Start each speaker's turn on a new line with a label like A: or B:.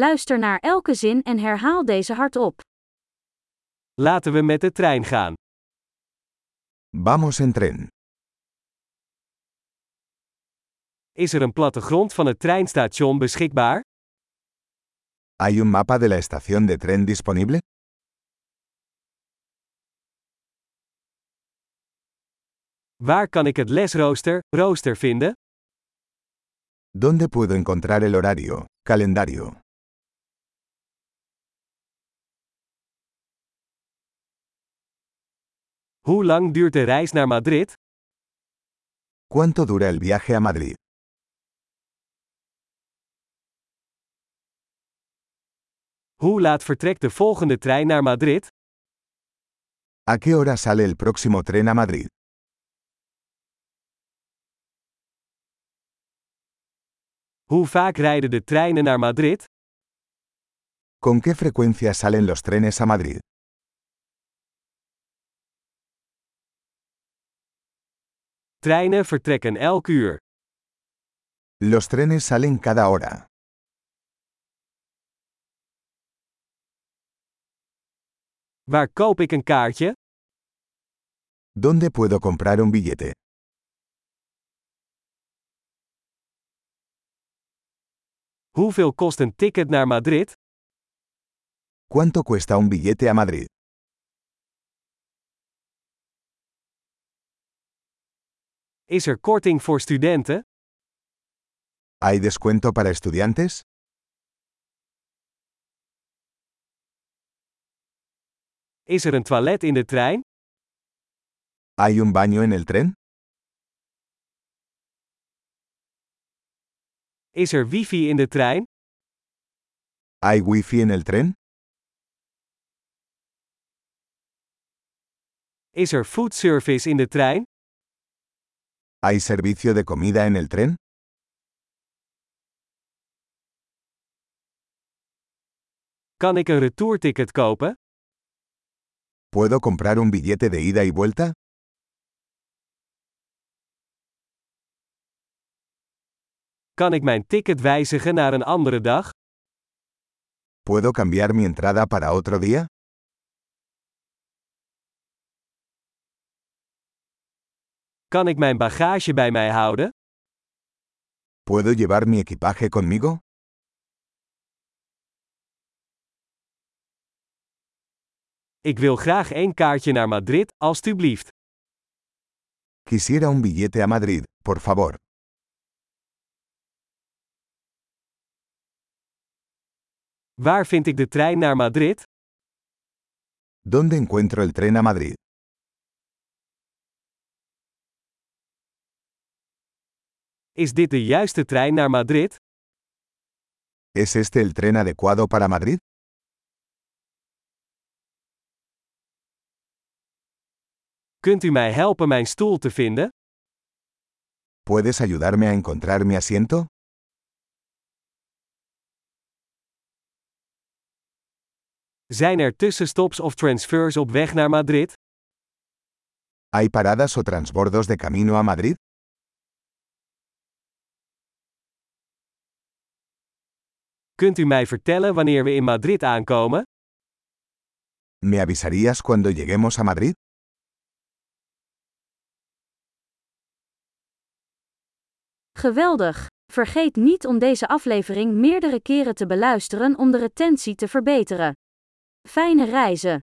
A: Luister naar elke zin en herhaal deze hardop.
B: Laten we met de trein gaan.
C: Vamos en tren.
B: Is er een plattegrond van het treinstation beschikbaar?
C: ¿Hay un mapa de la estación de tren disponible?
B: Waar kan ik het lesrooster, rooster vinden?
C: ¿Dónde puedo encontrar el horario, calendario?
B: Hoe lang duurt de reis naar Madrid?
C: ¿Cuánto dura el viaje a Madrid?
B: Hoe laat vertrekt de volgende trein naar Madrid?
C: ¿A qué hora sale el próximo tren a Madrid?
B: Hoe vaak rijden de treinen naar Madrid?
C: ¿Con qué frecuencia salen los trenes a Madrid?
B: Treinen vertrekken elk uur.
C: Los trenes salen cada hora.
B: Waar koop ik een kaartje?
C: ¿Dónde puedo comprar un billete?
B: Hoeveel kost een ticket naar Madrid?
C: ¿Cuánto cuesta un billete a Madrid?
B: Is er korting voor studenten?
C: ¿Hay descuento para estudiantes?
B: Is er een toilet in de trein?
C: ¿Hay un baño en el tren?
B: Is er wifi in de trein?
C: ¿Hay wifi en el tren?
B: Is er foodservice in de trein?
C: ¿Hay servicio de comida en el tren?
B: Kan ik een retourticket kopen?
C: ¿Puedo comprar un billete de ida y vuelta?
B: Kan ik mijn ticket wijzigen naar een andere dag?
C: ¿Puedo cambiar mi entrada para otro día?
B: Kan ik mijn bagage bij mij houden?
C: ¿Puedo llevar mi equipaje conmigo?
B: Ik wil graag één kaartje naar Madrid, alstublieft.
C: Quisiera un billete a Madrid, por favor.
B: Waar vind ik de trein naar Madrid?
C: ¿Dónde encuentro el tren a Madrid?
B: Is dit de juiste trein naar Madrid?
C: ¿Es este el tren adecuado para Madrid?
B: Kunt u mij helpen mijn stoel te vinden?
C: ¿Puedes ayudarme a encontrar mi asiento?
B: Zijn er tussenstops of transfers op weg naar Madrid?
C: ¿Hay paradas o transbordos de camino a Madrid?
B: Kunt u mij vertellen wanneer we in Madrid aankomen?
C: ¿Me avisarías cuando lleguemos a Madrid?
A: Geweldig! Vergeet niet om deze aflevering meerdere keren te beluisteren om de retentie te verbeteren. Fijne reizen!